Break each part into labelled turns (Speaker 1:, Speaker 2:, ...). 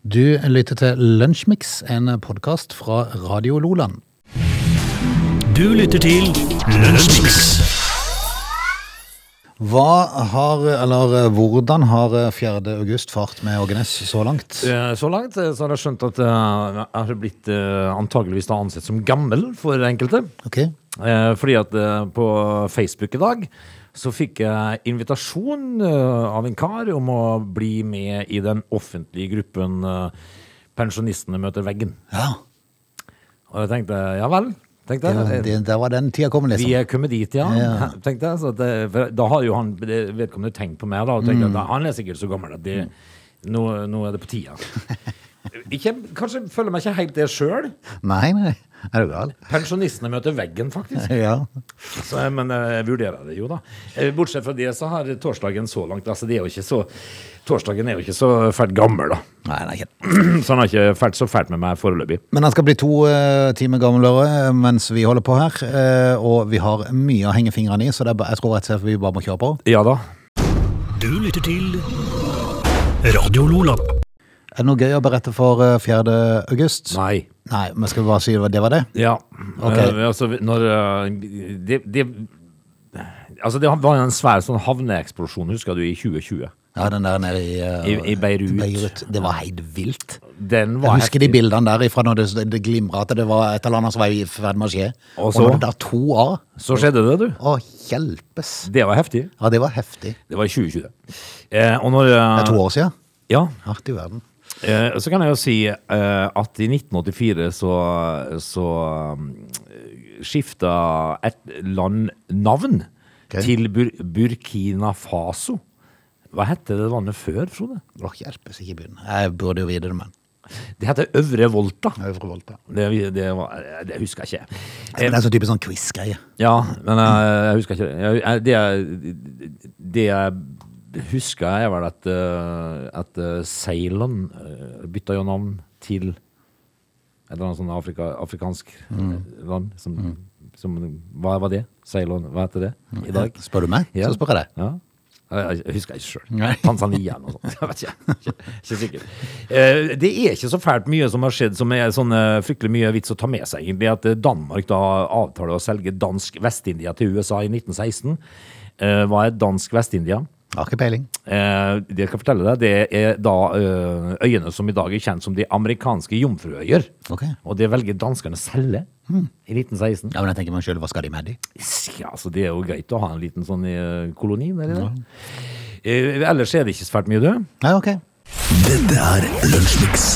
Speaker 1: Du lytter til Lunsjmix, en podkast fra Radio Loland.
Speaker 2: Du lytter til Lunsjmix.
Speaker 1: Hva har, eller hvordan har 4. august fart med Ågenes så langt?
Speaker 3: Eh, Så langt eh, så har jeg skjønt at eh, jeg har blitt eh, antageligvis da ansett som gammel for enkelte.
Speaker 1: Ok,
Speaker 3: Eh, Fordi at eh, på Facebook i dag så fikk jeg invitasjon eh, av en kar om å bli med i den offentlige gruppen eh, Pensjonistene møter veggen.
Speaker 1: ja,
Speaker 3: Og jeg tenkte ja vel. Tenkte
Speaker 1: det,
Speaker 3: jeg.
Speaker 1: var- det, der var den tida kommet
Speaker 3: Vi
Speaker 1: liksom.
Speaker 3: er kommet dit, ja.
Speaker 1: Ja.
Speaker 3: Tenkte jeg. Så at det, for da har jo han det- vedkommende tenkt på meg, da. Og
Speaker 1: Mm.
Speaker 3: tenkte at han er sikkert så gammel at det, nå, nå er det på tida. Ikke, kanskje føler meg ikke helt det sjøl.
Speaker 1: Nei, nei, er du gal?
Speaker 3: Pensjonistene møter veggen, faktisk.
Speaker 1: Ja,
Speaker 3: Så, jeg- men jeg vurderer det jo, da. Eh, Bortsett fra det så har torsdagen så langt altså det er jo ikke så, Torsdagen er jo ikke så fælt gammel, da.
Speaker 1: nei, nei, ikke.
Speaker 3: Så han har ikke fælt så fælt med meg foreløpig.
Speaker 1: Men han skal bli to eh, timer gamlere eh, mens vi holder på her, eh, og vi har mye å henge fingrene i, så det er, ba- jeg tror rett og slett vi bare må kjøre på.
Speaker 3: Ja da.
Speaker 2: Du lytter til Radio Lola.
Speaker 1: Er det noe gøy å berette for eh, 4. august?
Speaker 3: Nei.
Speaker 1: Nei, men skal vi bare si det var det?
Speaker 3: Ja.
Speaker 1: Ok.
Speaker 3: Eh, altså, når eh, det, det Altså, det var en svær sånn havneeksplosjon, husker du, i 2020.
Speaker 1: Ja, den der nede i, eh,
Speaker 3: I- i Beirut.
Speaker 1: Det var helt vilt.
Speaker 3: Den var
Speaker 1: Jeg husker de
Speaker 3: heftig.
Speaker 1: bildene der ifra når det, det glimra at det var et eller annet som var i ferd med å skje.
Speaker 3: Og
Speaker 1: Og
Speaker 3: så?
Speaker 1: når det der to av
Speaker 3: Så skjedde det, du.
Speaker 1: Å, hjelpes!
Speaker 3: Det var heftig.
Speaker 1: Ja, det var heftig.
Speaker 3: Det var i 2020. Eh, og når eh,
Speaker 1: Det er to år siden.
Speaker 3: Ja.
Speaker 1: Hardt i verden.
Speaker 3: Eh, så kan jeg jo si eh, at i 1984 så, så eh, skifta et land navn
Speaker 1: Ok.
Speaker 3: til Bur Burkina Faso. Hva het det landet før, Frode?
Speaker 1: Å, hjelpes, ikke begynn. Jeg burde jo vite det, men
Speaker 3: Det heter Øvre Volta.
Speaker 1: Øvre Volta.
Speaker 3: Det, det, var, det husker jeg ikke.
Speaker 1: Det er en sånn type sånn quiz-greie.
Speaker 3: Ja, men jeg, jeg husker ikke det. Jeg, jeg, det, jeg, det jeg husker, er vel at, eh, at eh, Ceylon eh, bytta jo navn til et eller annet sånn Afrika, afrikansk eh, land. Som, som, hva var det? Ceylon, hva heter det i dag?
Speaker 1: Spør du meg,
Speaker 3: Ja.
Speaker 1: så spør jeg deg.
Speaker 3: Ja. Jeg jeg husker ikke
Speaker 1: Nei.
Speaker 3: sjøl. Tanzania eller noe sånt. Jeg vet ikke. Ikke, ikke sikker. Eh, Det er ikke så fælt mye som har skjedd som er sånn eh, fryktelig mye vits å ta med seg, egentlig. At eh, Danmark da avtaler å selge dansk Vest-India til USA i 1916. Eh, Hva er dansk Vest-India?
Speaker 1: Har ikke peiling.
Speaker 3: Eh, Det jeg skal fortelle deg, det er da eh, øyene som i dag er kjent som de amerikanske jomfruøyer.
Speaker 1: Ok.
Speaker 3: Og det velger danskene å selge i 1916.
Speaker 1: Ja, men jeg tenker meg sjøl, hva skal de med de?
Speaker 3: Ja, altså Det er jo greit å ha en liten sånn eh, koloni nedi der. Eh, ellers er det ikke svært mye, du.
Speaker 1: Nei, ok.
Speaker 2: Dette er Lunsjmix.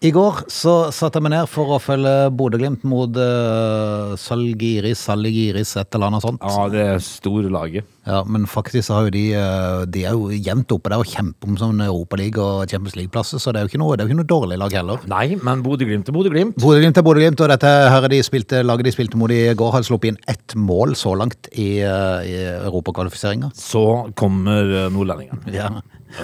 Speaker 1: I går så satte jeg meg ned for å følge Bodø-Glimt mot uh, Salgiris, Salgiris, et eller annet sånt.
Speaker 3: Ja, det er store laget.
Speaker 1: Ja, men faktisk så har jo de eh, De er jo jevnt oppe der og kjemper om sånn Europaliga og Champions League-plasser, så det er jo ikke noe, det er jo ikke noe dårlig lag heller.
Speaker 3: Nei, men Bodø-Glimt er Bodø-Glimt.
Speaker 1: Bodø-Glimt er Bodø-Glimt, og dette her er de spilte, laget de spilte mot i går, har sluppet inn ett mål så langt i, eh, i europakvalifiseringa.
Speaker 3: Så kommer eh, nordlendingene.
Speaker 1: Ja.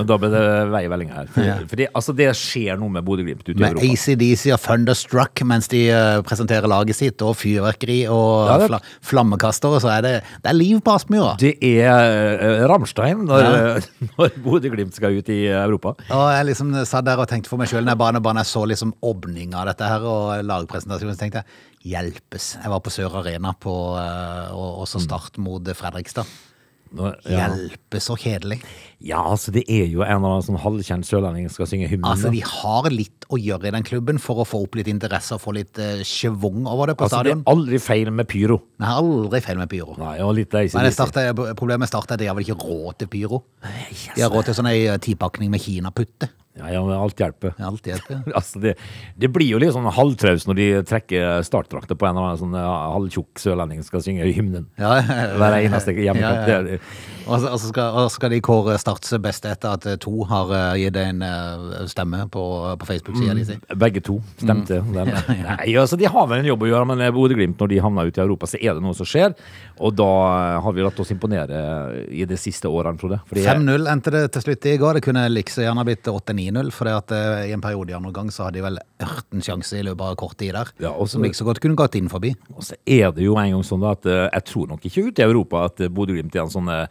Speaker 3: Og Da ble det veivellinger her. For,
Speaker 1: Ja.
Speaker 3: for det, altså, det skjer noe med Bodø-Glimt ute i
Speaker 1: Med
Speaker 3: Europa.
Speaker 1: ACDC og Thunderstruck mens de eh, presenterer laget sitt, og fyrverkeri og
Speaker 3: Ja, det-
Speaker 1: fla flammekastere, så er det, det er liv på Aspmyra.
Speaker 3: Det er eh, Rammstein når, eh, når Bodø-Glimt skal ut i eh, Europa.
Speaker 1: Og jeg liksom satt der og tenkte for meg sjøl, når jeg bare, bare jeg så liksom åpninga av dette her, og lagpresentasjonen, så tenkte jeg hjelpes. Jeg var på Sør Arena på, eh, og, og så start mot Fredrikstad.
Speaker 3: Når, Mm. ja.
Speaker 1: Hjelpes så kjedelig.
Speaker 3: ja, altså det er jo en eller annen sånn halvkjent sørlending som skal synge hymnen.
Speaker 1: Altså,
Speaker 3: da.
Speaker 1: de har litt å gjøre i den klubben for å få opp litt interesse og få litt eh, schwung over det på
Speaker 3: altså, det er
Speaker 1: stadion.
Speaker 3: aldri feil med pyro.
Speaker 1: Men jeg har aldri feil med pyro.
Speaker 3: Nei, og litt ACDC.
Speaker 1: Men det startet, problemet starta at de har vel ikke råd til pyro. De har råd til sånn ei eh, tipakning med kinaputte.
Speaker 3: Ja, ja, men alt hjelper.
Speaker 1: Alt hjelper.
Speaker 3: Altså det, det blir jo litt sånn halvtraus når de trekker startdrakter på en eller annen sånn ja, halvtjukk sørlending som skal synge hymnen.
Speaker 1: Ja,
Speaker 3: Hver eneste hjemmekamp.
Speaker 1: Ja, ja, ja.
Speaker 3: Det er-
Speaker 1: Og så, og så skal, og så skal de kåre Starts beste etter at eh, to har eh, gitt en eh, stemme på, på Facebook-sida
Speaker 3: Mm.
Speaker 1: de si.
Speaker 3: Begge to stemte.
Speaker 1: Mm.
Speaker 3: Den. Nei, altså De har vel en jobb å gjøre, men Bodø-Glimt, når de havner ute i Europa, så er det noe som skjer. Og da eh, har vi latt oss imponere eh, i de siste årene, Frode. Fordi
Speaker 1: 5-0 endte det til slutt i går. Det kunne like så gjerne blitt 8-9-0, for det at eh, i en periode i andre gang så hadde de vel ørten sjanse i løpet av kort tid der,
Speaker 3: Ja, og så-
Speaker 1: som like så godt kunne gått inn forbi.
Speaker 3: Og så er det jo en gang sånn da at eh, jeg tror nok ikke ute i Europa at eh, Bodø-Glimt er en sånn eh,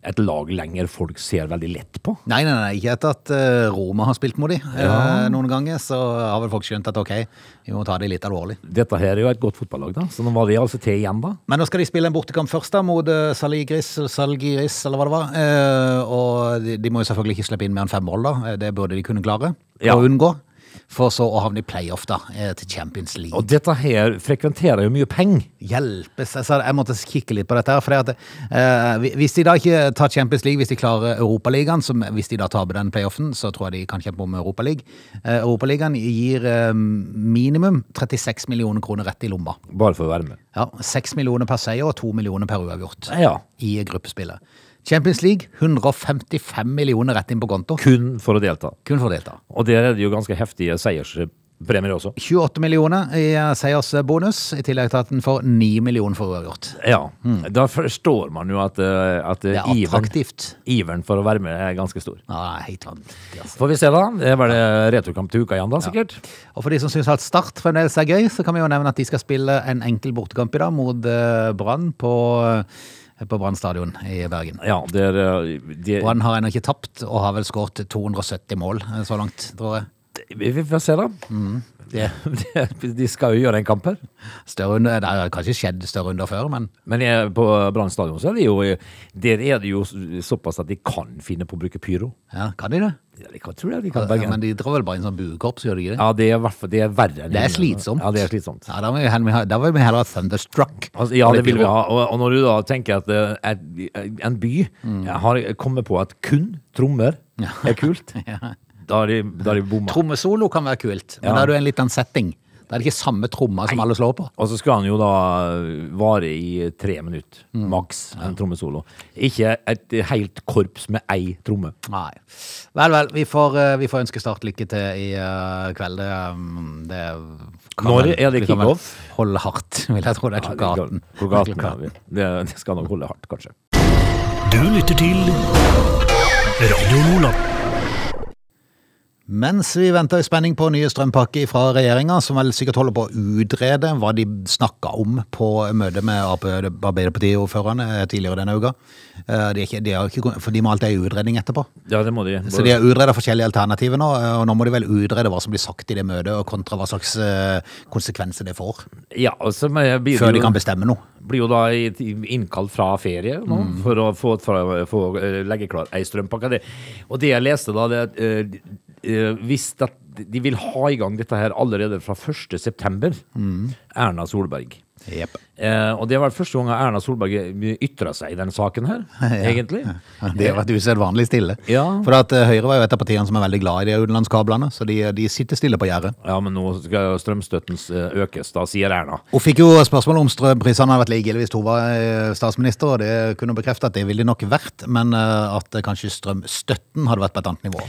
Speaker 3: et lag lenger folk ser veldig lett på.
Speaker 1: Nei, nei, nei, ikke etter at eh, Roma har spilt mot dem noen ganger, så har vel folk skjønt at ok, vi må ta det litt alvorlig.
Speaker 3: Dette her er jo et godt fotballag, da, så nå var det altså til igjen, da.
Speaker 1: Men nå skal de spille en bortekamp først da, mot eh, Salgiris, Salgiris eller hva det var. Eh, og de, de må jo selvfølgelig ikke slippe inn mer enn fem mål, da. Eh, Det burde de kunne klare
Speaker 3: Ja.
Speaker 1: å unngå. For så å havne i playoff da, eh, til Champions League.
Speaker 3: Og dette her frekventerer jo mye penger.
Speaker 1: Hjelpes. Jeg, sa, jeg måtte kikke litt på dette. her, For det at, eh, hvi- hvis de da ikke tar Champions League, hvis de klarer Europaligaen, som hvis de da taper den playoffen, så tror jeg de kan kjempe om Europaligaen. Eh, Europaligaen gir eh, minimum 36 millioner kroner rett i lomma.
Speaker 3: Bare for å være med.
Speaker 1: Ja, 6 millioner per seier og 2 millioner per uavgjort
Speaker 3: Ja.
Speaker 1: i gruppespillet. Champions League 155 millioner rett inn på konto.
Speaker 3: Kun for å delta.
Speaker 1: Kun for å delta.
Speaker 3: Og der er det jo ganske heftige seierspremier også.
Speaker 1: 28 millioner i eh, seiersbonus, i tillegg til at den får 9 millioner for uavgjort.
Speaker 3: Ja. Mm. Da forstår man jo at, eh, at
Speaker 1: Det
Speaker 3: eh,
Speaker 1: er
Speaker 3: iveren,
Speaker 1: attraktivt.
Speaker 3: iveren for å være med er ganske stor.
Speaker 1: Ja, det er helt vanvittig, altså.
Speaker 3: Får vi se, da. Det var det returkamp til uka igjen, da, sikkert.
Speaker 1: Og for de som syns at Start fremdeles er gøy, så kan vi jo nevne at de skal spille en enkel bortekamp i dag mot eh, Brann på, eh, på Brann stadion i Bergen.
Speaker 3: Ja, der, eh, det,
Speaker 1: Brann har ennå ikke tapt, og har vel skåret 270 mål eh, så langt, tror jeg.
Speaker 3: Vi vi får se, da.
Speaker 1: Det
Speaker 3: De- De skal jo gjøre en kamp her.
Speaker 1: større under, det har kanskje skjedd større under før, men
Speaker 3: Men jeg, på Brann stadion så er det jo Der er det jo såpass at de kan finne på å bruke pyro.
Speaker 1: ja, kan de det?
Speaker 3: Ja, de kan, tror jeg de kan
Speaker 1: Ja,
Speaker 3: begge.
Speaker 1: men de drar vel bare inn sånn buekorps, gjør de ikke det?
Speaker 3: Ja, det er, i hvert fall- det er verre. enn
Speaker 1: Det er
Speaker 3: inne.
Speaker 1: slitsomt.
Speaker 3: Ja, det er slitsomt.
Speaker 1: Ja, da vil vi heller, da vil vi heller ha Thunderstruck.
Speaker 3: Altså, ja,
Speaker 1: Og
Speaker 3: det vil vi
Speaker 1: pyro.
Speaker 3: ha. Og, og når du da tenker at eh, et- en by
Speaker 1: Mm.
Speaker 3: har kommet på at kun trommer er kult, da har de, da har de bomma.
Speaker 1: Trommesolo kan være kult, men
Speaker 3: Ja.
Speaker 1: da er det jo en litt annen setting. Da er det ikke samme tromma som alle slår på.
Speaker 3: Og så skal han jo da eh, vare i tre minutter,
Speaker 1: Mm.
Speaker 3: maks, en trommesolo. Ikke et helt korps med ei tromme.
Speaker 1: Nei. Vel, vel. Vi får, eh, vi får ønske Start lykke til i eh, kveld. Det, mm, det kan
Speaker 3: Når
Speaker 1: vel-
Speaker 3: er det
Speaker 1: vi kan vel
Speaker 3: kickoff?
Speaker 1: Holde hardt, vil jeg tro. Det er klokka 18.
Speaker 3: Klokka 18, ja. Det, det skal nok holde hardt, kanskje.
Speaker 2: Du lytter til Radio Lola.
Speaker 1: Mens vi venter i spenning på nye strømpakker fra regjeringa, som vel sikkert holder på å utrede hva de snakka om på møtet med Ap- Arbeiderparti-ordførerne tidligere denne uka. Eh, De, er ikke, de, har ikke, kun- for de må alltid ha en utredning etterpå.
Speaker 3: Ja, det må de.
Speaker 1: Så de har utreda forskjellige alternativer nå, eh, og nå må de vel utrede hva som blir sagt i det møtet, og kontra hva slags eh, konsekvenser det får,
Speaker 3: Ja, og så må jeg- blir,
Speaker 1: før de
Speaker 3: jo,
Speaker 1: kan bestemme noe.
Speaker 3: blir jo da i- innkalt fra ferie nå,
Speaker 1: Mm.
Speaker 3: for å få, for, å få eh, legge klar ei strømpakke. Det, og det jeg leste da, det er at, eh, eh, hvis at de vil ha i gang dette her allerede fra 1. september,
Speaker 1: Mm.
Speaker 3: Erna Solberg.
Speaker 1: Jepp.
Speaker 3: Eh, og det var første gang Erna Solberg ytra seg i den saken her, egentlig.
Speaker 1: Det har vært usedvanlig stille.
Speaker 3: Ja.
Speaker 1: For at eh, Høyre var jo et av partiene som er veldig glad i de utenlandskablene, så de, eh, de sitter stille på gjerdet.
Speaker 3: Ja, men nå skal strømstøtten eh, økes, da, sier Erna.
Speaker 1: Hun fikk jo spørsmål om strømprisene hadde vært like ille hvis hun var eh, statsminister, og det kunne hun bekrefte at det ville de nok vært, men eh, at eh, kanskje strømstøtten hadde vært på et annet nivå.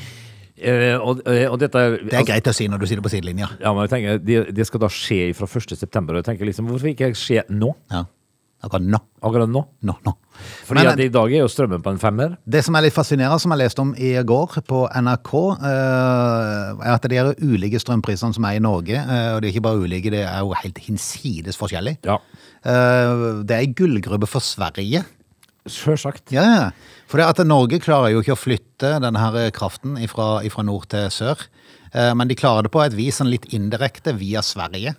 Speaker 3: Eh, og, eh, og dette
Speaker 1: Det er greit å si når du sier det på sidelinja.
Speaker 3: Ja, men jeg tenker, det, det skal da skje fra 1. september. Og jeg tenker liksom, hvorfor ikke skje nå?
Speaker 1: Ja. Akkurat nå,
Speaker 3: Akkurat nå?
Speaker 1: nå, nå.
Speaker 3: Fordi
Speaker 1: Men,
Speaker 3: at i dag er jo strømmen på en femmer.
Speaker 1: Det som er litt fascinerende, som jeg leste om i går på NRK, eh, er at det er ulike strømprisene som er i Norge. eh, Og det er ikke bare ulike, det er jo helt hinsides forskjellig.
Speaker 3: Ja.
Speaker 1: Eh, Det er ei gullgruppe for Sverige.
Speaker 3: Sjølsagt.
Speaker 1: Ja, ja. For det at Norge klarer jo ikke å flytte denne her kraften fra nord til sør. Eh, Men de klarer det på et vis sånn litt indirekte via Sverige.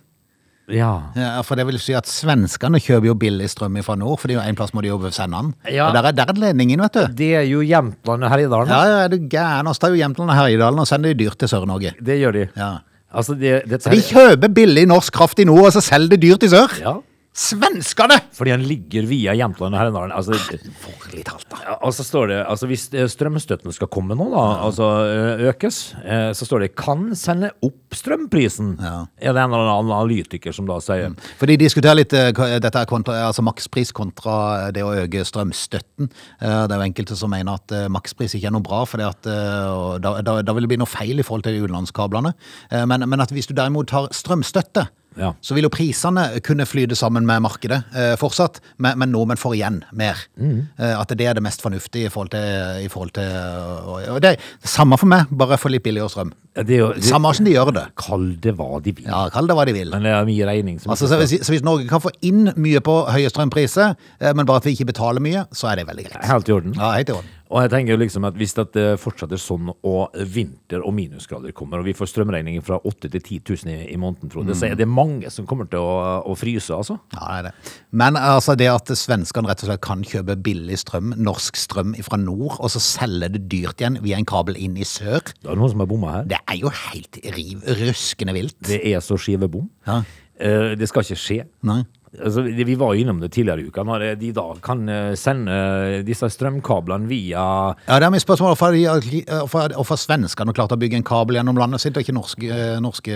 Speaker 3: Ja.
Speaker 1: Ja, for det vil si at svenskene kjøper jo billig strøm fra nord, for det er jo en plass må de jo sende den.
Speaker 3: Ja.
Speaker 1: Og der er, der er ledningen, vet du.
Speaker 3: Det er jo Jämtland og Herjedalen.
Speaker 1: Ja, ja, er du gæren? Oss tar jo Jämtland og Herjedalen og sender de dyrt til Sør-Norge.
Speaker 3: Det gjør de.
Speaker 1: Ja.
Speaker 3: Altså, det, dette
Speaker 1: De
Speaker 3: her,
Speaker 1: kjøper billig norsk kraft i nord, og så selger det dyrt i sør.
Speaker 3: Ja.
Speaker 1: Svenskene!
Speaker 3: fordi han ligger via Jämtland og Herjedalen. Altså,
Speaker 1: Forlig talt, da.
Speaker 3: Ja, Og så står det, altså Hvis eh, strømstøtten skal komme nå, da, altså ø, økes, eh, så står det 'kan sende opp strømprisen'.
Speaker 1: Ja. Mm.
Speaker 3: Er det en eller annen analytiker som da sier
Speaker 1: For de diskuterer litt eh, hva- dette er kontra, altså makspris kontra eh, det å øke strømstøtten. Eh, Det er jo enkelte som mener at eh, makspris ikke er noe bra, for da, da, da vil det bli noe feil i forhold til de utenlandskablene. Eh, Men, men at hvis du derimot tar strømstøtte,
Speaker 3: Ja.
Speaker 1: så vil jo prisene kunne flyte sammen med markedet eh, fortsatt, men, men nordmenn får igjen mer. Eh, at det er det mest fornuftige i forhold til, i forhold til og- Og det er samme for meg, bare for litt billigere strøm.
Speaker 3: Det er jo det,
Speaker 1: Samme hvordan de gjør det.
Speaker 3: Kall det hva de vil.
Speaker 1: Ja, Kall det hva de vil.
Speaker 3: Men det er mye regning som
Speaker 1: Altså, så, hvis, så hvis Norge kan få inn mye på høye strømpriser, eh, men bare at vi ikke betaler mye, så er det veldig greit.
Speaker 3: Helt i orden.
Speaker 1: Ja, helt i orden.
Speaker 3: Og jeg tenker jo liksom at hvis det fortsetter sånn, og vinter og minusgrader kommer, og vi får strømregninger fra 8000 til 10 000 i, i måneden, Frode,
Speaker 1: Mm.
Speaker 3: så er det mange som kommer til å, å fryse, altså.
Speaker 1: Ja, det er det. Men altså, det at svenskene rett og slett kan kjøpe billig strøm, norsk strøm fra nord, og så selge det dyrt igjen via en kabel inn i sør,
Speaker 3: Det er noen som har bomma her.
Speaker 1: det er jo helt riv røskende vilt.
Speaker 3: Det er så skive bom.
Speaker 1: Ja.
Speaker 3: Eh, Det skal ikke skje.
Speaker 1: Nei.
Speaker 3: Altså, det- vi var jo innom det tidligere i uka, når eh, de da kan eh, sende disse strømkablene via
Speaker 1: Ja, det er mitt spørsmål. Hvorfor, har de- hvorfor, hvorfor svenskene har klart å bygge en kabel gjennom landet sitt, og ikke norske, eh, norske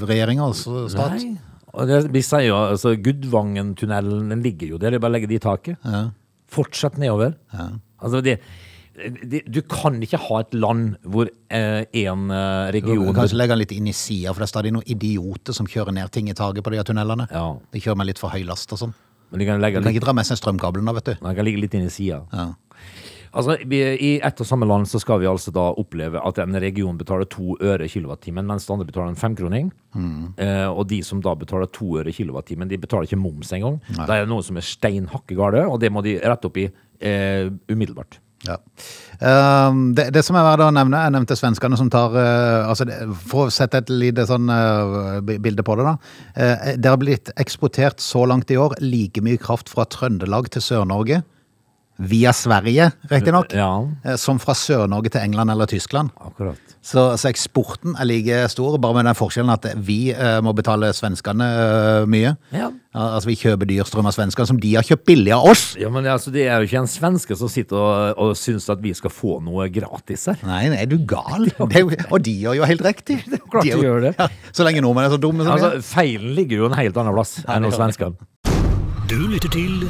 Speaker 1: regjeringer, altså stat?
Speaker 3: Nei. Og det, vi sier jo, altså, Gudvangen-tunnelen den ligger jo der, det er bare å legge det i taket. Fortsett nedover. Altså, det, det, du kan ikke ha et land hvor én eh, en, eh, region
Speaker 1: Kanskje legge den litt inn i sida, for det er stadig noen idioter som kjører ned ting i taket på de her tunnelene.
Speaker 3: Ja.
Speaker 1: De kjører med litt for høy last og sånn.
Speaker 3: Men de kan, legge
Speaker 1: Du kan
Speaker 3: litt,
Speaker 1: ikke dra med seg strømkabelen da, vet du.
Speaker 3: de kan ligge litt inn i sida.
Speaker 1: Ja.
Speaker 3: Altså, vi, I ett og samme land så skal vi altså da oppleve at en region betaler to øre kilowattimen, mens den andre betaler en femkroning.
Speaker 1: Mm.
Speaker 3: Eh, og de som da betaler to øre kilowattimen, de betaler ikke moms engang. Det er det noen som er steinhakke gale, og det må de rette opp i eh, umiddelbart.
Speaker 1: Ja. Ehm, det, det som er verdt å nevne, jeg nevnte svenskene som tar eh, altså det, For å sette et lite sånn eh, bi- bilde på det, da. Eh, det har blitt eksportert så langt i år like mye kraft fra Trøndelag til Sør-Norge, via Sverige riktignok,
Speaker 3: Ja.
Speaker 1: eh, som fra Sør-Norge til England eller Tyskland.
Speaker 3: Akkurat.
Speaker 1: Så, så eksporten er like stor, bare med den forskjellen at vi eh, må betale svenskene eh, mye.
Speaker 3: Ja.
Speaker 1: Al- Altså vi kjøper dyr strøm av svenskene som de har kjøpt billig av oss!
Speaker 3: Ja, men altså, Det er jo ikke en svenske som sitter og, og syns at vi skal få noe gratis her.
Speaker 1: Nei, nei, er du gal? Det er jo, og de gjør jo helt riktig. Det
Speaker 3: klart de gjør det.
Speaker 1: Ja, så lenge nordmenn er så dumme som de er.
Speaker 3: Altså, Feilen ligger jo en helt annen plass enn hos svenskene.
Speaker 2: Du lytter til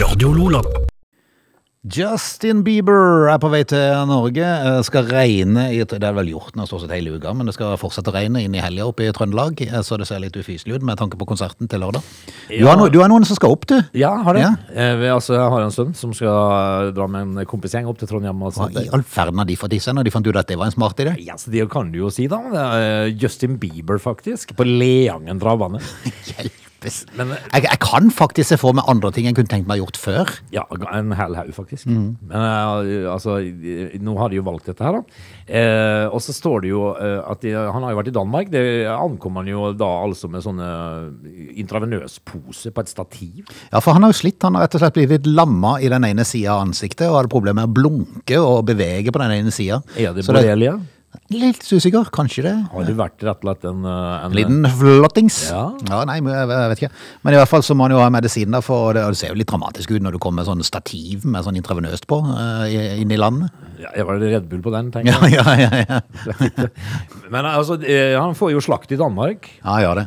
Speaker 2: Radio Lola.
Speaker 1: Justin Bieber er på vei til Norge. eh, Skal regne i, Det er vel gjort nå stort sett hele uka, men det skal fortsette å regne inn i helga oppe i Trøndelag. eh, Så det ser litt ufyselig ut med tanke på konserten til lørdag. Du,
Speaker 3: Ja.
Speaker 1: har no, du har noen som skal opp, du.
Speaker 3: Ja, har det.
Speaker 1: Ja.
Speaker 3: Eh, vi, altså, jeg har en sønn som skal eh, dra med en kompisgjeng opp til Trondheim. Og
Speaker 1: Hva
Speaker 3: sånt.
Speaker 1: i all verden har de fått i seg når de fant ut at det var en smart idé?
Speaker 3: Ja, så det kan du jo si, da. Det er eh, Justin Bieber, faktisk. På Leangen travbane.
Speaker 1: Hjelpes.
Speaker 3: Men-
Speaker 1: Jeg, jeg kan faktisk se for meg andre ting jeg kunne tenkt meg å ha gjort før.
Speaker 3: Ja, en hel haug, faktisk.
Speaker 1: Mm.
Speaker 3: Men eh, altså, eh, nå har de jo valgt dette her, da. Eh, og så står det jo eh, at de, Han har jo vært i Danmark. Det ankom han jo da altså med sånne eh, intravenøspose på et stativ.
Speaker 1: Ja, for han har jo slitt. Han har rett og slett blitt litt lamma i den ene sida av ansiktet, og hadde problemer med å blunke og bevege på den ene sida.
Speaker 3: Er det borrelia?
Speaker 1: Litt usikker, kanskje det.
Speaker 3: Har det vært rett og slett en, eh,
Speaker 1: En
Speaker 3: en
Speaker 1: liten flottings.
Speaker 3: Ja.
Speaker 1: nei, men jeg, jeg vet ikke. Men i hvert fall så må han jo ha medisin, da, for det, og det ser jo litt dramatisk ut når du kommer med sånn stativ med sånn intravenøst på eh, i- inn i landet.
Speaker 3: eh, Ja, jeg var Red Bull på den, tenker
Speaker 1: Ja,
Speaker 3: jeg.
Speaker 1: ja, ja. Ja,
Speaker 3: Men altså, eh, han får jo slakt i Danmark.
Speaker 1: ja gjør det.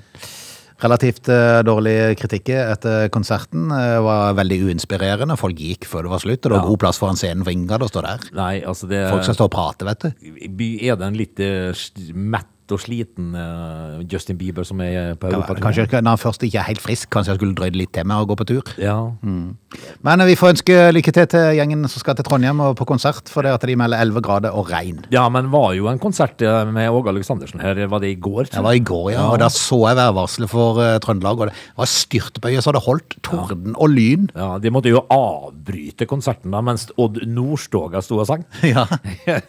Speaker 1: Relativt eh, dårlig kritikk etter konserten. eh, var veldig uinspirerende. Folk gikk før det var slutt, og det var
Speaker 3: Ja.
Speaker 1: god plass foran scenen for ingen gadd å stå der.
Speaker 3: Nei, altså det
Speaker 1: Folk skal stå og prate, vet du.
Speaker 3: by- Er det en litt eh, sl- mett og sliten eh, Justin Bieber som er eh, på
Speaker 1: Ja,
Speaker 3: Europa?
Speaker 1: Kanskje når han først ikke er helt frisk, kanskje jeg skulle drøyd litt til med å gå på tur.
Speaker 3: Ja.
Speaker 1: Men eh, vi får ønske lykke til til gjengen som skal til Trondheim og på konsert, for det at de melder 11 grader og regn.
Speaker 3: ja, men var jo en konsert eh, med Åge Aleksandersen her, var det i går?
Speaker 1: Det var i går, ja, og da så jeg værvarselet for eh, Trøndelag, og det var styrtbøye så det holdt. Torden og lyn.
Speaker 3: Ja, De måtte jo avbryte konserten da, mens Odd Nordstoga sto og sang.
Speaker 1: Ja.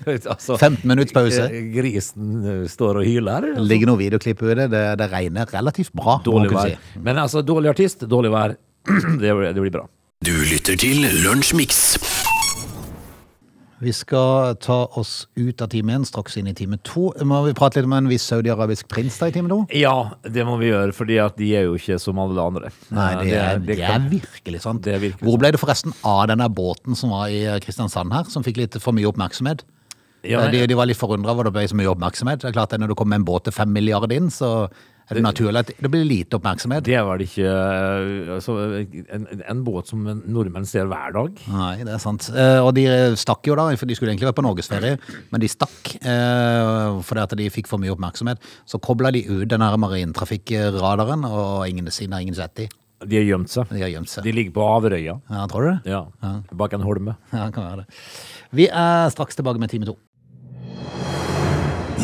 Speaker 3: altså,
Speaker 1: 15 minutts pause.
Speaker 3: eh, Grisen eh, står og hyler.
Speaker 1: Det ligger noe videoklipp ut, det, det regner relativt bra. må man
Speaker 3: Dårlig
Speaker 1: kunne
Speaker 3: vær.
Speaker 1: si. Mm.
Speaker 3: Men altså, dårlig artist, dårlig vær. det, blir- det blir bra.
Speaker 2: Du lytter til Lunsjmix.
Speaker 1: Vi skal ta oss ut av time én, straks inn i time to. Må vi prate litt om en viss saudiarabisk prins da i time to?
Speaker 3: Ja, det må vi gjøre, fordi at de er jo ikke som alle andre.
Speaker 1: Nei, det
Speaker 3: Eh,
Speaker 1: er, det er
Speaker 3: kan-
Speaker 1: virkelig sant.
Speaker 3: Det er virkelig
Speaker 1: Hvor ble det forresten av denne båten som var i Kristiansand her, som fikk litt for mye oppmerksomhet? Eh,
Speaker 3: Ja,
Speaker 1: de,
Speaker 3: nei,
Speaker 1: de var litt forundra over at det ble så mye oppmerksomhet. Det er klart at Når du kommer med en båt til fem milliarder inn, så er det naturlig at det blir lite oppmerksomhet.
Speaker 3: det er vel ikke eh, altså, en, en båt som nordmenn ser hver dag.
Speaker 1: Nei, det er sant. Eh, Og de stakk jo da, for de skulle egentlig vært på norgesferie, men de stakk eh, fordi at de fikk for mye oppmerksomhet. Så kobla de ut den her marintrafikkradaren, og ingen siden har ingen sett de.
Speaker 3: De har gjemt seg.
Speaker 1: De har gjemt seg.
Speaker 3: De ligger på Averøya.
Speaker 1: Ja, tror du det?
Speaker 3: Ja, Bak en holme.
Speaker 1: Ja, det kan være det. Vi er straks tilbake med time to.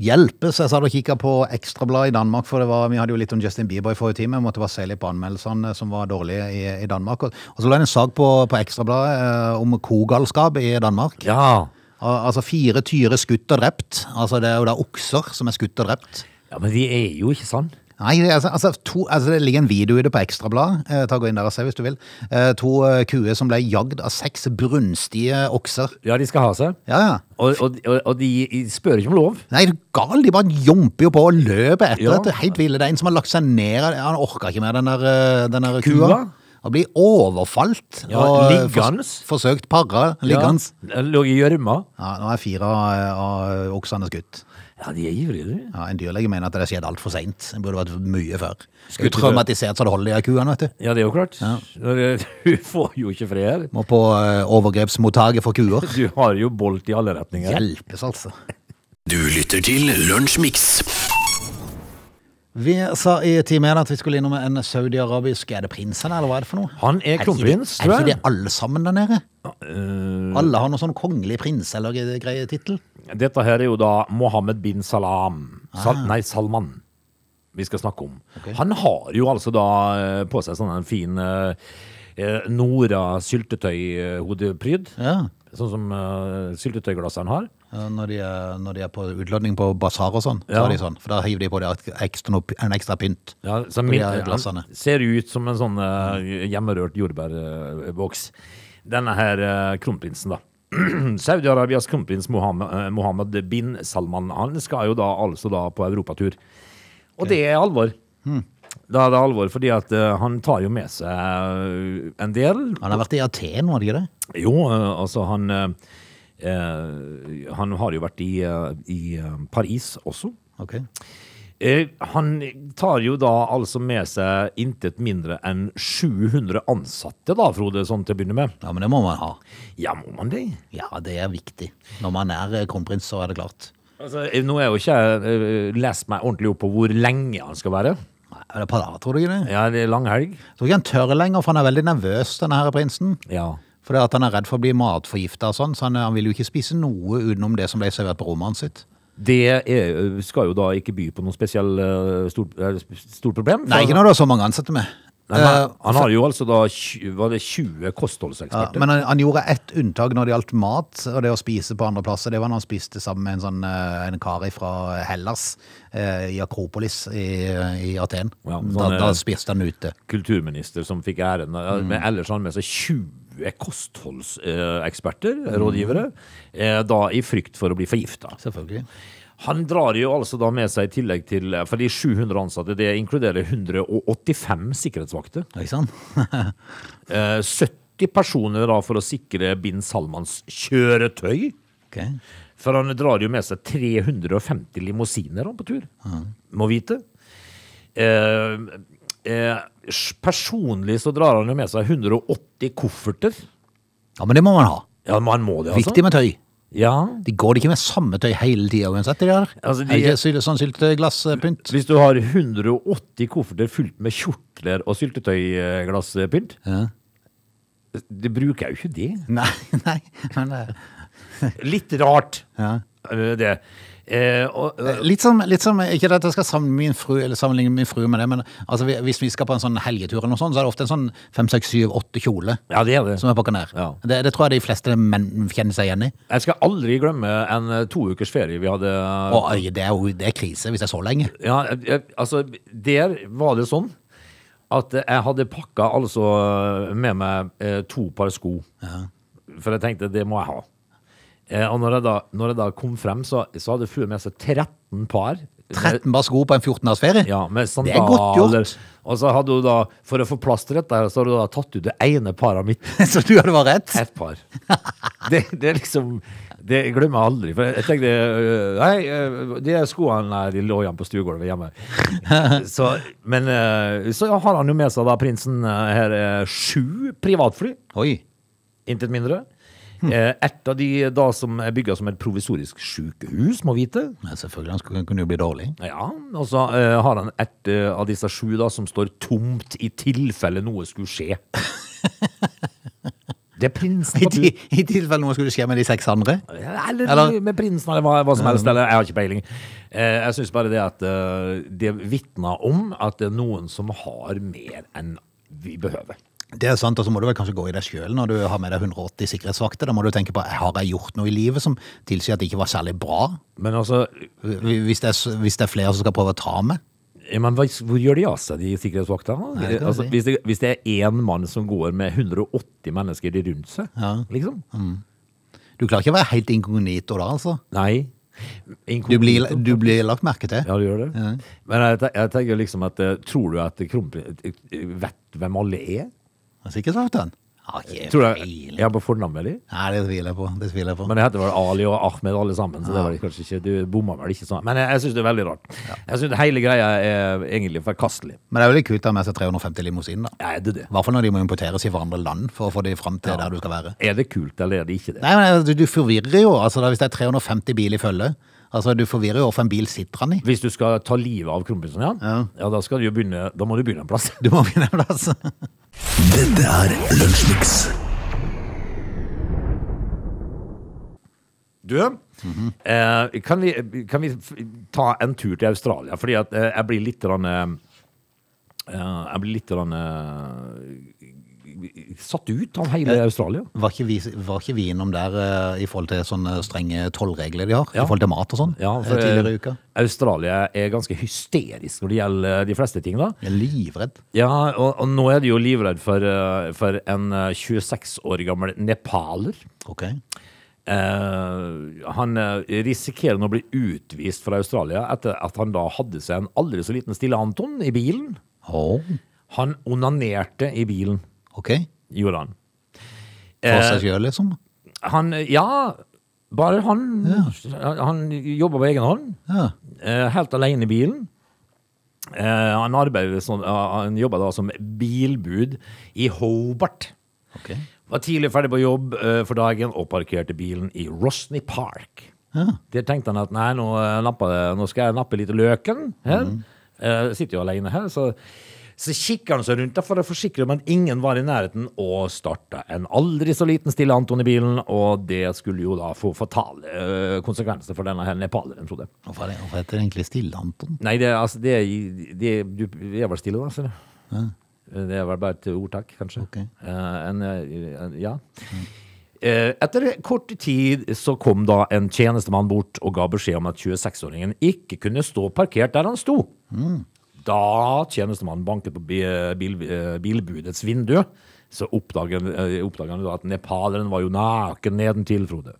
Speaker 1: Hjelpes! Jeg satt og kikka på Ekstrabladet i Danmark, for det var, vi hadde jo litt om Justin Bieber i forrige time. Jeg måtte bare se litt på anmeldelsene som var dårlige i, i Danmark. Og, og så lå det en sak på, på Ekstrabladet eh, om kogalskap i Danmark.
Speaker 3: Ja.
Speaker 1: Al- Altså fire tyre skutt og drept. Altså Det er jo da okser som er skutt og drept.
Speaker 3: ja, men de er jo ikke sånn.
Speaker 1: Nei, det, er altså, altså, to, altså, det ligger en video i det på Ekstrabladet. Eh, ta og Gå inn der og se hvis du vil. Eh, to eh, kuer som ble jagd av seks brunstige okser.
Speaker 3: Ja, de skal ha seg.
Speaker 1: Ja, ja.
Speaker 3: Og, og, og, og de, de spør ikke om lov.
Speaker 1: Nei, er du gal? De bare jomper jo på og løper etter.
Speaker 3: Ja.
Speaker 1: Ja. Det er helt ville. Det er en som har lagt seg ned av det. Han orka ikke mer den der, eh, den der
Speaker 3: Kua?
Speaker 1: kua. Og blir overfalt.
Speaker 3: Ja,
Speaker 1: og eh,
Speaker 3: liggende.
Speaker 1: fors- forsøkt para. Liggende.
Speaker 3: Ja, lå i gjørma.
Speaker 1: Ja. nå er fire av, eh, av oksene skutt.
Speaker 3: Ja, de er ivrige, du.
Speaker 1: Ja, en dyrlege mener at det skjedde altfor seint. Det burde vært mye før.
Speaker 3: Skal
Speaker 1: Skulle
Speaker 3: ikke
Speaker 1: traumatisert så det holder, de her kuene, vet du.
Speaker 3: Ja, det er jo klart. Når, eh, Du får jo ikke fred her.
Speaker 1: Må på eh, overgrepsmottaket for kuer.
Speaker 3: Du har jo bolt i alle retninger.
Speaker 1: Hjelpes, altså.
Speaker 2: Du lytter til Lunsjmix.
Speaker 1: Vi sa i time én at vi skulle innom en saudiarabisk Er det prinsen, eller hva er det for noe?
Speaker 3: Han er kronprins,
Speaker 1: Er det
Speaker 3: tror
Speaker 1: ikke
Speaker 3: jeg.
Speaker 1: det alle sammen der nede?
Speaker 3: Eh,
Speaker 1: Alle har noen sånn kongelig prins eller gre- greie tittel.
Speaker 3: dette her er jo da Mohammed bin Salam. Sal Nei, Salman. Vi skal snakke om. Han har jo altså da eh, på seg sånn en fin eh, eh, Nora syltetøy-hodepryd.
Speaker 1: Ja.
Speaker 3: Sånn som eh, syltetøyglassene har.
Speaker 1: Ja, Når de, er, når de er på utlodning på basar og sånn,
Speaker 3: Ja.
Speaker 1: så har de sånn. For da hiver de på det at ekstra, noe- en ekstra pynt.
Speaker 3: Ja, som
Speaker 1: På de
Speaker 3: min,
Speaker 1: her
Speaker 3: han
Speaker 1: glassene.
Speaker 3: ser ut som en sånn eh, hjemmerørt jordbærboks. Denne her eh, kronprinsen, da. Saudi-Arabias kronprins Mohammed, eh, Mohammed bin Salman Han skal jo da altså da på europatur. Og det er alvor.
Speaker 1: Hmm.
Speaker 3: Da er det alvor, fordi at eh, han tar jo med seg eh, en del.
Speaker 1: Han har vært i Aten, var det ikke det?
Speaker 3: Jo, eh, altså han eh, eh, Han har jo vært i, eh, i eh, Paris også.
Speaker 1: Ok.
Speaker 3: Eh, han tar jo da altså med seg intet mindre enn 700 ansatte, da, Frode, sånn til å begynne med.
Speaker 1: Ja, men det må man ha.
Speaker 3: Ja, må man det?
Speaker 1: Ja, det er viktig. Når man er eh, kronprins, så er det klart.
Speaker 3: Altså, eh, nå er jo ikke jeg eh, lest meg ordentlig opp på hvor lenge han skal være.
Speaker 1: Nei, er det et par dager, tror du ikke det?
Speaker 3: Ja, det er lang helg.
Speaker 1: Tror ikke han tør lenger, for han er veldig nervøs, denne her prinsen.
Speaker 3: Ja.
Speaker 1: Fordi at han er redd for å bli matforgifta og sånn, så han, han vil jo ikke spise noe utenom det som ble servert på rommet hans sitt.
Speaker 3: Det er, eh, skal jo da ikke by på noe spesielt stort, eh, stort problem. for-
Speaker 1: Nei, ikke når du har så mange ansatte med.
Speaker 3: Nei, men
Speaker 1: Eh,
Speaker 3: han, han har jo altså da 20, var det 20
Speaker 1: Ja,
Speaker 3: kostholdseksperter.
Speaker 1: men han, han gjorde ett unntak når det gjaldt mat og det å spise på andre plasser. Det var når han spiste sammen med en, sånn, eh, en kar fra Hellas eh, i Akropolis i, i Aten.
Speaker 3: Ja, sånn,
Speaker 1: da, da
Speaker 3: eh,
Speaker 1: spiste han ute.
Speaker 3: kulturminister som fikk æren. eh, Men ellers har han med seg 20 kostholdseksperter, rådgivere, eh, da i frykt for å bli forgifta.
Speaker 1: Selvfølgelig.
Speaker 3: Han drar jo altså da med seg i tillegg til eh, For de 700 ansatte, det inkluderer 185 sikkerhetsvakter.
Speaker 1: Ikke sant?
Speaker 3: eh, 70 personer da for å sikre bin Salmans kjøretøy.
Speaker 1: Ok.
Speaker 3: For han drar jo med seg 350 limousiner han på tur. Må vite. Eh, eh, s- personlig så drar han jo med seg 180 kofferter.
Speaker 1: Ja, men det må man ha.
Speaker 3: Ja, man må det, altså.
Speaker 1: Viktig med tøy.
Speaker 3: Ja.
Speaker 1: De går ikke med samme tøy hele tida uansett. De der.
Speaker 3: Altså, de-
Speaker 1: Er det ikke syl- sånn sylteglasspynt?
Speaker 3: Hvis du har 180 kofferter fylt med kjortler og syltetøyglasspynt,
Speaker 1: Ja.
Speaker 3: det bruker jeg jo ikke det.
Speaker 1: Nei, nei. Men, eh,
Speaker 3: Litt rart,
Speaker 1: ja.
Speaker 3: eh, det. Eh, og,
Speaker 1: Eh, Litt som, litt som ikke det at jeg skal sammenligne min fru, eller sammenligne min fru med det, men altså, vi- hvis vi skal på en sånn helgetur eller noe sånt, så er det ofte en sånn fem, seks, syv, åtte kjole
Speaker 3: ja, det er det.
Speaker 1: som er pakka ned.
Speaker 3: Ja.
Speaker 1: Det, det tror jeg de fleste menn kjenner seg igjen i.
Speaker 3: Jeg skal aldri glemme en eh, to ukers ferie vi hadde
Speaker 1: Og øy, det er jo det er krise hvis det er så lenge.
Speaker 3: Ja, jeg- jeg- altså, der var det sånn at jeg hadde pakka altså med meg eh, to par sko. For jeg tenkte, det må jeg ha. Eh, og når jeg da, når jeg da kom frem, så, så hadde fruen med seg 13 par.
Speaker 1: 13 par sko på en 14 dagers ferie.
Speaker 3: Ja, med
Speaker 1: Det er godt gjort.
Speaker 3: sandaler. Og så hadde hun da, for å få plass til dette, her, så hadde hun da tatt ut det ene paret mitt.
Speaker 1: Så du hadde vært rett.
Speaker 3: Ett par. Det, det er liksom Det glemmer jeg aldri. For jeg tenkte øh, Nei, øh, de skoene der de lå igjen på stuegulvet hjemme. Så, men øh, så har han jo med seg da prinsen øh, her øh, sju privatfly.
Speaker 1: Oi.
Speaker 3: Intet mindre. Eh, Et av de da som er bygga som et provisorisk sykehus, må vite.
Speaker 1: Men selvfølgelig, han skulle- kunne jo bli dårlig.
Speaker 3: Ja, Og så eh, har han et eh, av disse sju da som står tomt i tilfelle noe skulle skje. Det er prinsen
Speaker 1: I,
Speaker 3: på
Speaker 1: ti, i tilfelle noe skulle skje med de seks andre.
Speaker 3: eller,
Speaker 1: Eller-
Speaker 3: med prinsen, eller hva, hva som helst. Eller, jeg har ikke peiling. Eh, jeg syns bare det at eh, det vitner om at det er noen som har mer enn vi behøver.
Speaker 1: Det er sant, og så må du vel kanskje gå i deg sjøl når du har med deg 180 sikkerhetsvakter. Da må du tenke på har jeg gjort noe i livet som tilsier at det ikke var særlig bra?
Speaker 3: Men altså
Speaker 1: Hvis det er, s- hvis det er flere som skal prøve å ta meg?
Speaker 3: ja, men hva, Hvor gjør de av seg, de sikkerhetsvaktene?
Speaker 1: Nei, det kan jeg
Speaker 3: altså,
Speaker 1: si.
Speaker 3: hvis, det, hvis det er én mann som går med 180 mennesker rundt seg, liksom?
Speaker 1: Du klarer ikke å være helt inkognito da, altså.
Speaker 3: Nei.
Speaker 1: Du blir, du blir lagt merke til.
Speaker 3: Ja, du gjør det? Men jeg, te- jeg tenker liksom at eh, Tror du at kronprins vet hvem alle er?
Speaker 1: Har sikkerhetsvakten. Har Ah, ikke
Speaker 3: Tror du jeg,
Speaker 1: peiling.
Speaker 3: jeg er på fornavn med dem?
Speaker 1: Nei, det tviler jeg på. Det tviler jeg på.
Speaker 3: Men det heter vel Ali og Ahmed alle sammen, så det var det kanskje ikke Du bomma vel ikke sånn. Men jeg, jeg syns det er veldig rart. Jeg syns hele greia er egentlig forkastelig.
Speaker 1: Men det er jo litt kult å ha med seg 350 limousiner, da.
Speaker 3: Er det det?
Speaker 1: I hvert fall når de må importeres i hverandre land for å få de fram til der du skal være.
Speaker 3: Er det kult, eller er det ikke det?
Speaker 1: Nei, men du, du forvirrer jo, altså da, hvis det er 350 bil i følge. Altså, du forvirrer jo hvorfor en bil sitter han i.
Speaker 3: Hvis du skal ta livet av kronprinsen, ja, ja da, skal du jo begynne, da må du begynne en plass.
Speaker 1: Du må altså. finne en plass.
Speaker 4: Dette er Lunsjmix.
Speaker 3: Du, eh, kan, vi, kan vi f- ta en tur til Australia? Fordi at eh, jeg blir litt grann, eh, eh, Jeg blir litt grann, eh, satt ut av hele Australia.
Speaker 1: Var ikke, vi, var ikke vi innom der eh, i forhold til sånne strenge tollregler de har?
Speaker 3: Ja.
Speaker 1: I forhold til mat og sånn?
Speaker 3: Ja,
Speaker 1: eh,
Speaker 3: for
Speaker 1: tidligere
Speaker 3: eh,
Speaker 1: i uka?
Speaker 3: Australia er ganske hysterisk når det gjelder de fleste ting, da.
Speaker 1: Jeg er livredd.
Speaker 3: Ja, og, og nå er de jo livredd for, eh, for en eh, 26 år gammel nepaler.
Speaker 1: Ok.
Speaker 3: Eh, han eh, risikerer nå å bli utvist fra Australia etter at han da hadde seg en aldri så liten Stille Anton i bilen.
Speaker 1: Åh,
Speaker 3: Han onanerte i bilen,
Speaker 1: ok.
Speaker 3: gjorde han.
Speaker 1: For
Speaker 3: Eh.
Speaker 1: seg selv, liksom.
Speaker 3: Han, ja, bare han. Han jobber på egen hånd.
Speaker 1: Ja.
Speaker 3: eh, helt alene i bilen. Eh, han, arbeider sånn, ja, han jobber da som bilbud i Hobart.
Speaker 1: Ok.
Speaker 3: Var tidlig ferdig på jobb eh, for dagen og parkerte bilen i Rosny Park. Der tenkte han at nei, nå, eh, napper, det- nå skal jeg nappe litt løken. Her. Eh, sitter jo alene her, så, så kikker han seg rundt da for å forsikre om at ingen var i nærheten, og starta en aldri så liten Stille Anton i bilen, og det skulle jo da få fatale eh, konsekvenser for denne her nepaleren, trodde jeg.
Speaker 1: Hvorfor, er det, hvorfor heter det egentlig Stille Anton?
Speaker 3: Nei, det, er- altså, det, er- det er- du vi er vel stille, da. ser du. Eh, Det er vel bare et ordtak, kanskje.
Speaker 1: Ok.
Speaker 3: Eh, en, eh, en, ja. Eh, Etter kort tid så kom da en tjenestemann bort og ga beskjed om at 26-åringen ikke kunne stå parkert der han sto. Da tjenestemannen banket på bi- bil, eh, bilbudets vindu, så oppdaget, eh, oppdaget han da at nepaleren var jo naken nedentil, Frode.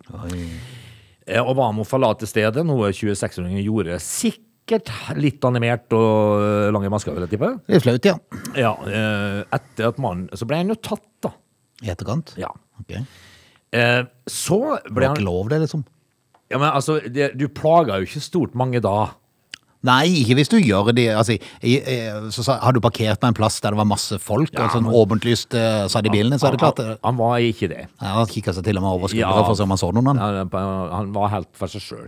Speaker 3: Eh, Og hva med å forlate stedet, noe 26-åringen gjorde sikkert litt animert og eh, lange masker, vil jeg tippe.
Speaker 1: Det er flaut, ja.
Speaker 3: Ja, eh, etter at mannen Så ble han jo tatt, da.
Speaker 1: I etterkant?
Speaker 3: Ja.
Speaker 1: Ok. Det
Speaker 3: Eh, Så ble
Speaker 1: var
Speaker 3: han
Speaker 1: ikke lov, det, liksom.
Speaker 3: Ja, men altså, det, du plaga jo ikke stort mange da.
Speaker 1: Nei, ikke hvis du gjør det. Altså, i, i, så sa, har du parkert på en plass der det var masse folk, og sånn åpent lyst eh, satt i bilene, så er det klart
Speaker 3: Han,
Speaker 1: eh,
Speaker 3: han var ikke det.
Speaker 1: ja, Han kikka seg til og med over skuldra
Speaker 3: Ja.
Speaker 1: for å se om han så noen. Han.
Speaker 3: Han, han var helt for seg sjøl.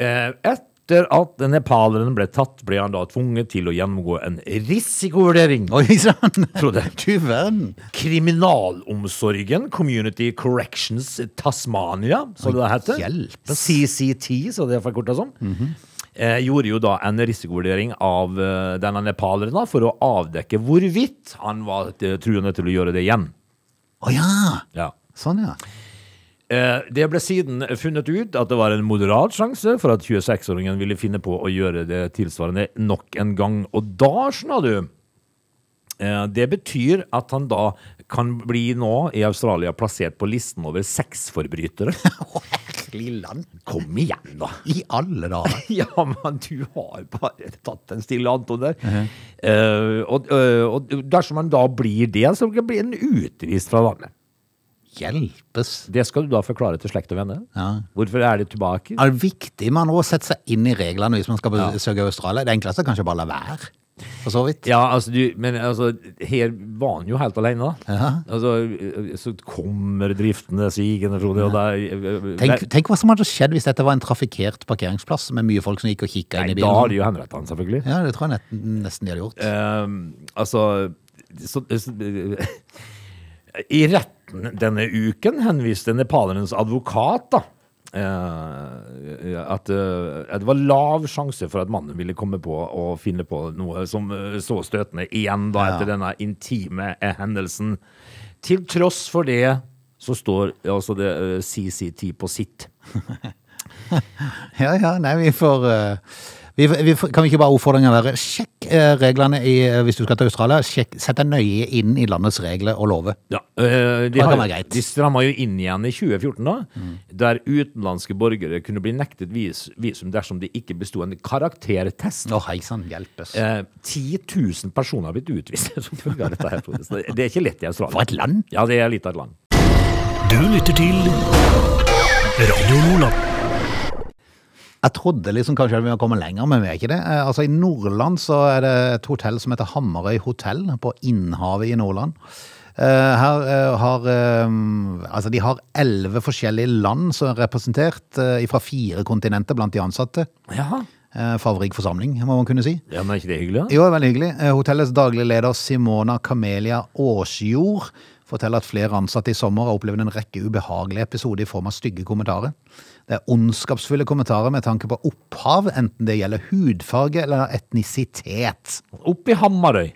Speaker 3: Etter at nepaleren ble tatt, ble han da tvunget til å gjennomgå en risikovurdering.
Speaker 1: Oi sann!
Speaker 3: Frode.
Speaker 1: Du verden.
Speaker 3: Kriminalomsorgen, Community Corrections Tasmania, som det heter.
Speaker 1: hjelpes.
Speaker 3: CCT, som det er forkorta som. sånn. eh, gjorde jo da en risikovurdering av eh, denne nepaleren da, for å avdekke hvorvidt han var eh, truende til å gjøre det igjen.
Speaker 1: Å ja!
Speaker 3: Ja.
Speaker 1: Sånn, ja.
Speaker 3: Eh, Det ble siden funnet ut at det var en moderat sjanse for at 26-åringen ville finne på å gjøre det tilsvarende nok en gang. Og da, skjønner du eh, Det betyr at han da kan bli nå i Australia plassert på listen over sexforbrytere.
Speaker 1: Lilland.
Speaker 3: Kom igjen, da!
Speaker 1: I alle dager.
Speaker 3: Ja, men du har bare tatt en stille Anton der. Eh, og, eh, og dersom han da blir det, så blir han utvist fra landet.
Speaker 1: Hjelpes.
Speaker 3: Det skal du da forklare til slekt og venner.
Speaker 1: Ja.
Speaker 3: Hvorfor er de tilbake?
Speaker 1: Er det viktig man å sette seg inn i reglene hvis man skal besøke Australia? Det enkleste er kanskje bare la være, for så vidt.
Speaker 3: Ja, altså, du, men altså, her var han jo helt alene, da.
Speaker 1: Ja.
Speaker 3: Altså, så kommer driftene sigende, Frode, og da eh,
Speaker 1: Tenk, tenk hva som hadde skjedd hvis dette var en trafikkert parkeringsplass med mye folk som gikk og kikka inn
Speaker 3: Nei,
Speaker 1: i
Speaker 3: da har
Speaker 1: bilen.
Speaker 3: de jo henrettet han, selvfølgelig.
Speaker 1: Ja, det tror jeg net- nesten de hadde gjort.
Speaker 3: Ehm, altså så, så, I retten denne uken henviste nepalerens advokat da, eh, at eh, at det var lav sjanse for at mannen ville komme på å finne på noe som eh, så støtende igjen da,
Speaker 1: Ja.
Speaker 3: etter denne intime eh, hendelsen. Til tross for det så står altså det eh, CCT på sitt.
Speaker 1: Ja, ja, nei, vi får eh, vi, vi, får- Kan vi ikke bare oppfordringen være Sjekk eh, reglene i, hvis du skal til Australia. Sjekk, sett deg nøye inn i landets regler og lover.
Speaker 3: Ja, øh, de,
Speaker 1: kan
Speaker 3: har,
Speaker 1: være
Speaker 3: jo-
Speaker 1: greit. Mm.
Speaker 3: de stramma jo inn igjen i 2014, da, der utenlandske borgere kunne bli nektet vis, visum dersom de ikke besto en karaktertest.
Speaker 1: Å, hei sann, hjelpes.
Speaker 3: Eh, 10 000 personer har blitt utvist som følge av dette. her, Frode. Så det- Det er ikke lett i Australia.
Speaker 1: For et land!
Speaker 3: Ja, det er litt av et land.
Speaker 2: Du lytter til Radio Lola.
Speaker 1: Jeg trodde liksom kanskje at vi var kommet lenger, men vi er ikke det. Eh, Altså I Nordland så er det et hotell som heter Hammerøy hotell, på Innhavet i Nordland. Eh, Her eh, har eh, Altså, de har elleve forskjellige land som er representert eh, fra fire kontinenter blant de ansatte.
Speaker 3: Ja.
Speaker 1: Eh, Fargerik forsamling, må man kunne si.
Speaker 3: ja, men er ikke det hyggelig? da?
Speaker 1: Jo, veldig hyggelig. Eh, Hotellets daglige leder Simona Camelia Åsjord forteller at flere ansatte i sommer har opplevd en rekke ubehagelige episoder i form av stygge kommentarer. Det er ondskapsfulle kommentarer med tanke på opphav, enten det gjelder hudfarge eller etnisitet.
Speaker 3: Opp i Hamarøy.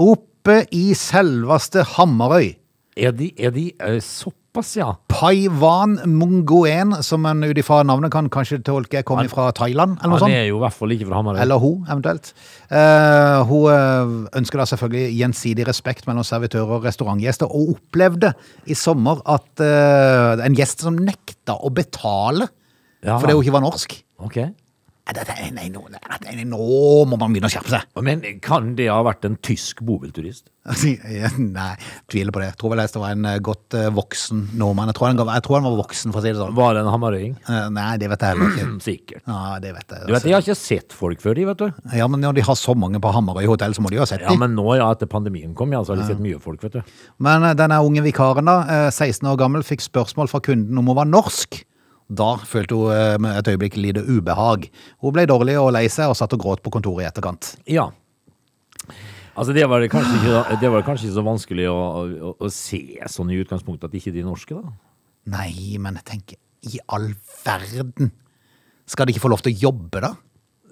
Speaker 1: Oppe i selveste Hammerøy.
Speaker 3: Er de, er de eh, såpass, ja?
Speaker 1: Paiwan Mungoen, som en ut ifra navnet kan kanskje tolke kommer fra Thailand, eller noe sånn.
Speaker 3: Han
Speaker 1: sånt.
Speaker 3: er jo i hvert fall ikke fra Hamarøy.
Speaker 1: Eller hun, eventuelt. Eh, hun eh, ønsker da selvfølgelig gjensidig respekt mellom servitører og restaurantgjester, og opplevde i sommer at eh, en gjest som nekta å betale
Speaker 3: Ja.
Speaker 1: fordi hun ikke var norsk
Speaker 3: Ok.
Speaker 1: Nei, dette er- nei, nå, dette er- nå må man begynne å skjerpe seg!
Speaker 3: Men kan det ha vært en tysk bobilturist?
Speaker 1: Altså, Nei, tviler på det. Jeg tror vel helst det var en eh, godt eh, voksen nordmann. Jeg tror, han, ga- jeg tror han var voksen, for å si det sånn.
Speaker 3: Var det en hamarøying?
Speaker 1: Eh, nei, det vet jeg heller ikke.
Speaker 3: Sikkert.
Speaker 1: Ja, det vet jeg. altså.
Speaker 3: Du vet, Jeg har ikke sett folk før, de, vet du.
Speaker 1: Ja, men når de har så mange på Hamarøy hotell, så må de jo ha sett
Speaker 3: Ja,
Speaker 1: dem.
Speaker 3: men nå, ja, etter pandemien kom, ja, så har de sett mye folk, vet du.
Speaker 1: Men eh, denne unge vikaren, da, eh, 16 år gammel, fikk spørsmål fra kunden om hun var norsk. Da følte hun eh, med et øyeblikk lite ubehag. Hun ble dårlig og lei seg og satt og gråt på kontoret i etterkant.
Speaker 3: Ja. Altså, det var det kanskje ikke, det var det kanskje ikke så vanskelig å, å, å se sånn i utgangspunktet at ikke de er norske, da.
Speaker 1: Nei, men jeg tenker, i all verden! Skal de ikke få lov til å jobbe, da?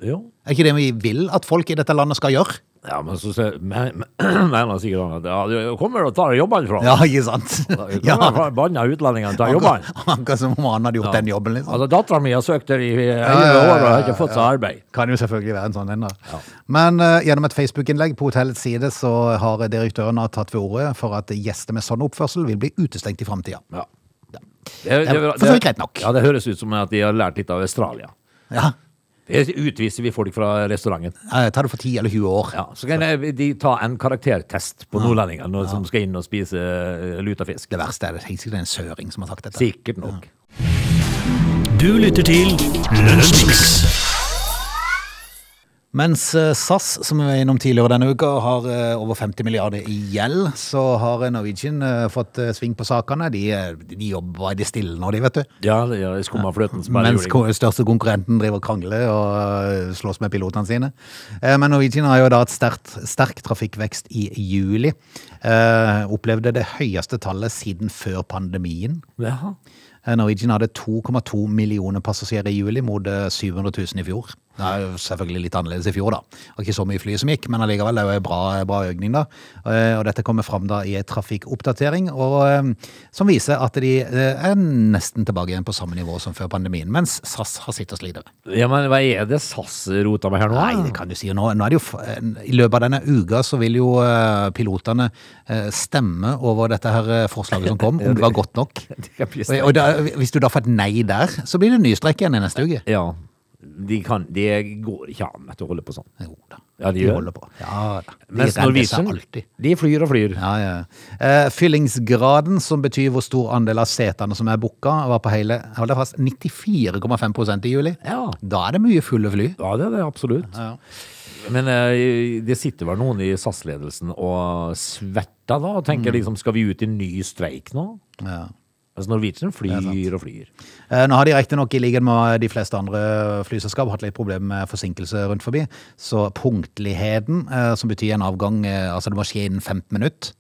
Speaker 3: Jo.
Speaker 1: Er ikke det vi vil at folk i dette landet skal gjøre?
Speaker 3: Ja, men så se- men, men, mener sikkert han at ja, du kommer og tar jobbene fra.
Speaker 1: Ja, ikke sant? Ja,
Speaker 3: Ja. Banna utlendingene tar jobbene.
Speaker 1: Akkurat som om han hadde gjort den jobben, liksom.
Speaker 3: Altså, Dattera mi har søkt her i
Speaker 1: ja,
Speaker 3: elleve
Speaker 1: ja,
Speaker 3: år og har
Speaker 1: ja,
Speaker 3: ikke fått seg arbeid.
Speaker 1: Kan jo selvfølgelig være en sånn en, da. Men eh, gjennom et Facebook-innlegg på hotellets side så har direktøren tatt ved ordet for at gjester med sånn oppførsel vil bli utestengt i framtida.
Speaker 3: Ja. Det, det,
Speaker 1: Ja, for så vidt greit nok.
Speaker 3: Ja, det høres ut som at de har lært litt av Australia.
Speaker 1: Ja.
Speaker 3: Det utviser vi folk fra restauranten.
Speaker 1: Eh, Ta det for 10 eller 20 år.
Speaker 3: Ja, så kan jeg- de ta en karaktertest på nordlendingene nå som skal inn og spise eh, lutefisk.
Speaker 1: Det verste er det helt sikkert det er en søring som har sagt dette.
Speaker 3: Sikkert nok.
Speaker 2: Du lytter til Lunsjmix.
Speaker 1: Mens eh, SAS, som vi var innom tidligere denne uka, har eh, over 50 milliarder i gjeld, så har eh, Norwegian eh, fått eh, sving på sakene. De, eh, de jobber i det stille nå, de, vet du.
Speaker 3: Ja, det- ja skumma fløten som bare
Speaker 1: Mens
Speaker 3: juling.
Speaker 1: ko- største konkurrenten driver og krangler og øh, slåss med pilotene sine. Eh, Men Norwegian har jo da et sterkt, sterk trafikkvekst i juli. Eh, opplevde det høyeste tallet siden før pandemien.
Speaker 3: Ja.
Speaker 1: Eh, Norwegian hadde 2,2 millioner passasjerer i juli mot eh, 700 000 i fjor. Det er jo selvfølgelig litt annerledes i fjor, da. Og ikke så mye fly som gikk, men allikevel det er jo en bra, bra økning, da. Eh, Og dette kommer fram da i en trafikkoppdatering, og, eh, som viser at de eh, er nesten tilbake igjen på samme nivå som før pandemien, mens SAS har sittet og slitt.
Speaker 3: ja, men hva er det SAS rota med her nå?
Speaker 1: Nei, det kan du si. Nå, nå er det jo, f- eh, I løpet av denne uka så vil jo eh, pilotene eh, stemme over dette her eh, forslaget som kom, om det var godt nok.
Speaker 3: Det kan bli
Speaker 1: Og, og da, hvis du da får et nei der, så blir det ny streik igjen i neste uke.
Speaker 3: Ja. De, kan, de går ikke an vet du, å holde på sånn.
Speaker 1: Jo da.
Speaker 3: Ja, de
Speaker 1: de
Speaker 3: gjør.
Speaker 1: holder på. Ja da. De
Speaker 3: Mens
Speaker 1: redder seg
Speaker 3: Norwegian,
Speaker 1: alltid.
Speaker 3: de flyr og flyr.
Speaker 1: Ja, ja. Eh, fyllingsgraden, som betyr hvor stor andel av setene som er booka, var på hele hold deg fast, 94,5 i juli.
Speaker 3: Ja.
Speaker 1: Da er det mye fulle fly.
Speaker 3: Ja, det er det absolutt.
Speaker 1: Ja.
Speaker 3: Men eh, det sitter vel noen i SAS-ledelsen og svetter da, og tenker liksom, skal vi ut i ny streik nå?
Speaker 1: Mm. Ja.
Speaker 3: Mens Norwegian flyr og flyr.
Speaker 1: Eh, Nå har de riktignok, i likhet med de fleste andre flyselskap, hatt litt problemer med forsinkelse rundt forbi. Så punktligheten, eh, som betyr en avgang eh, Altså, det må skje innen 15 minutter.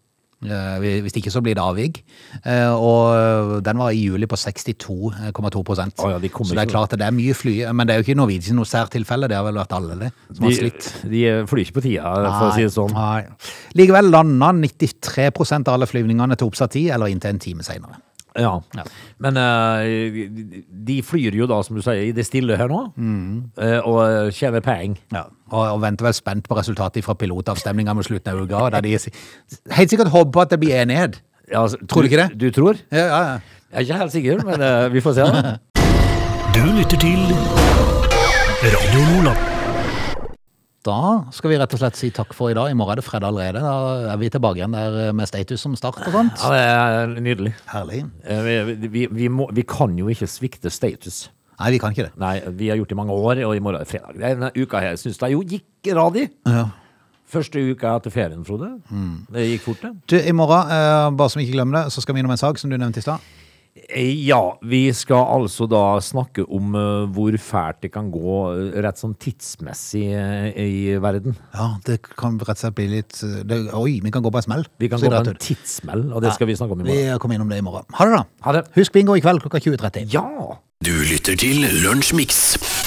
Speaker 1: Eh, Hvis ikke så blir det avvik. Eh, Og den var i juli på 62,2
Speaker 3: Å ja, de kommer
Speaker 1: Så det
Speaker 3: ikke-
Speaker 1: er klart at det er mye fly. Men det er jo ikke Norwegian noe særtilfelle. Det har vel vært alle det som har
Speaker 3: De,
Speaker 1: slitt.
Speaker 3: de flyr ikke på tida, for å si det sånn.
Speaker 1: Nei. Likevel landa 93 av alle flyvningene til oppsatt tid, eller inntil en time seinere.
Speaker 3: Ja.
Speaker 1: Ja.
Speaker 3: Men eh, de- de flyr jo da, som du sier, i det stille her nå,
Speaker 1: Mm.
Speaker 3: eh, og tjener penger.
Speaker 1: Ja, og, og venter vel spent på resultatet fra pilotavstemninga mot slutten av uka. Der de si- helt sikkert håper på at det blir enighet.
Speaker 3: Ja, altså,
Speaker 1: Tror du ikke det?
Speaker 3: Du tror?
Speaker 1: Ja, ja, ja.
Speaker 3: Jeg er ikke helt sikker, men eh, vi får se. da.
Speaker 2: Du lytter til Radio Lola.
Speaker 1: Da skal vi rett og slett si takk for i dag. I morgen er det fredag allerede. Da er vi tilbake igjen der eh, med status som start og sånt.
Speaker 3: Ja, det er nydelig.
Speaker 1: Herlig.
Speaker 3: Eh, Vi, vi, vi, må, vi kan jo ikke svikte status.
Speaker 1: Nei, vi kan ikke det.
Speaker 3: Nei, vi har gjort det i mange år, og i morgen er det fredag. Denne uka her syns jeg jo gikk radig. Første uka etter ferien, Frode.
Speaker 1: Mm.
Speaker 3: Det gikk fort, det.
Speaker 1: Du, I morgen, eh, bare som ikke glemmer det, så skal vi innom en sak som du nevnte i stad.
Speaker 3: Eh, Ja, vi skal altså da snakke om eh, hvor fælt det kan gå eh, rett sånn tidsmessig eh, i verden.
Speaker 1: Ja, det kan rett og slett bli litt eh, det, Oi, vi kan gå på en smell.
Speaker 3: Vi kan
Speaker 1: Så
Speaker 3: gå på
Speaker 1: rett
Speaker 3: en
Speaker 1: ut.
Speaker 3: tidssmell, og det skal vi snakke om i
Speaker 1: Vi
Speaker 3: morgen.
Speaker 1: kommer innom det i morgen. Ha det, da.
Speaker 3: Ha det.
Speaker 1: Husk bingo i kveld klokka 20.30.
Speaker 3: Ja!
Speaker 4: Du lytter til Lunsjmix.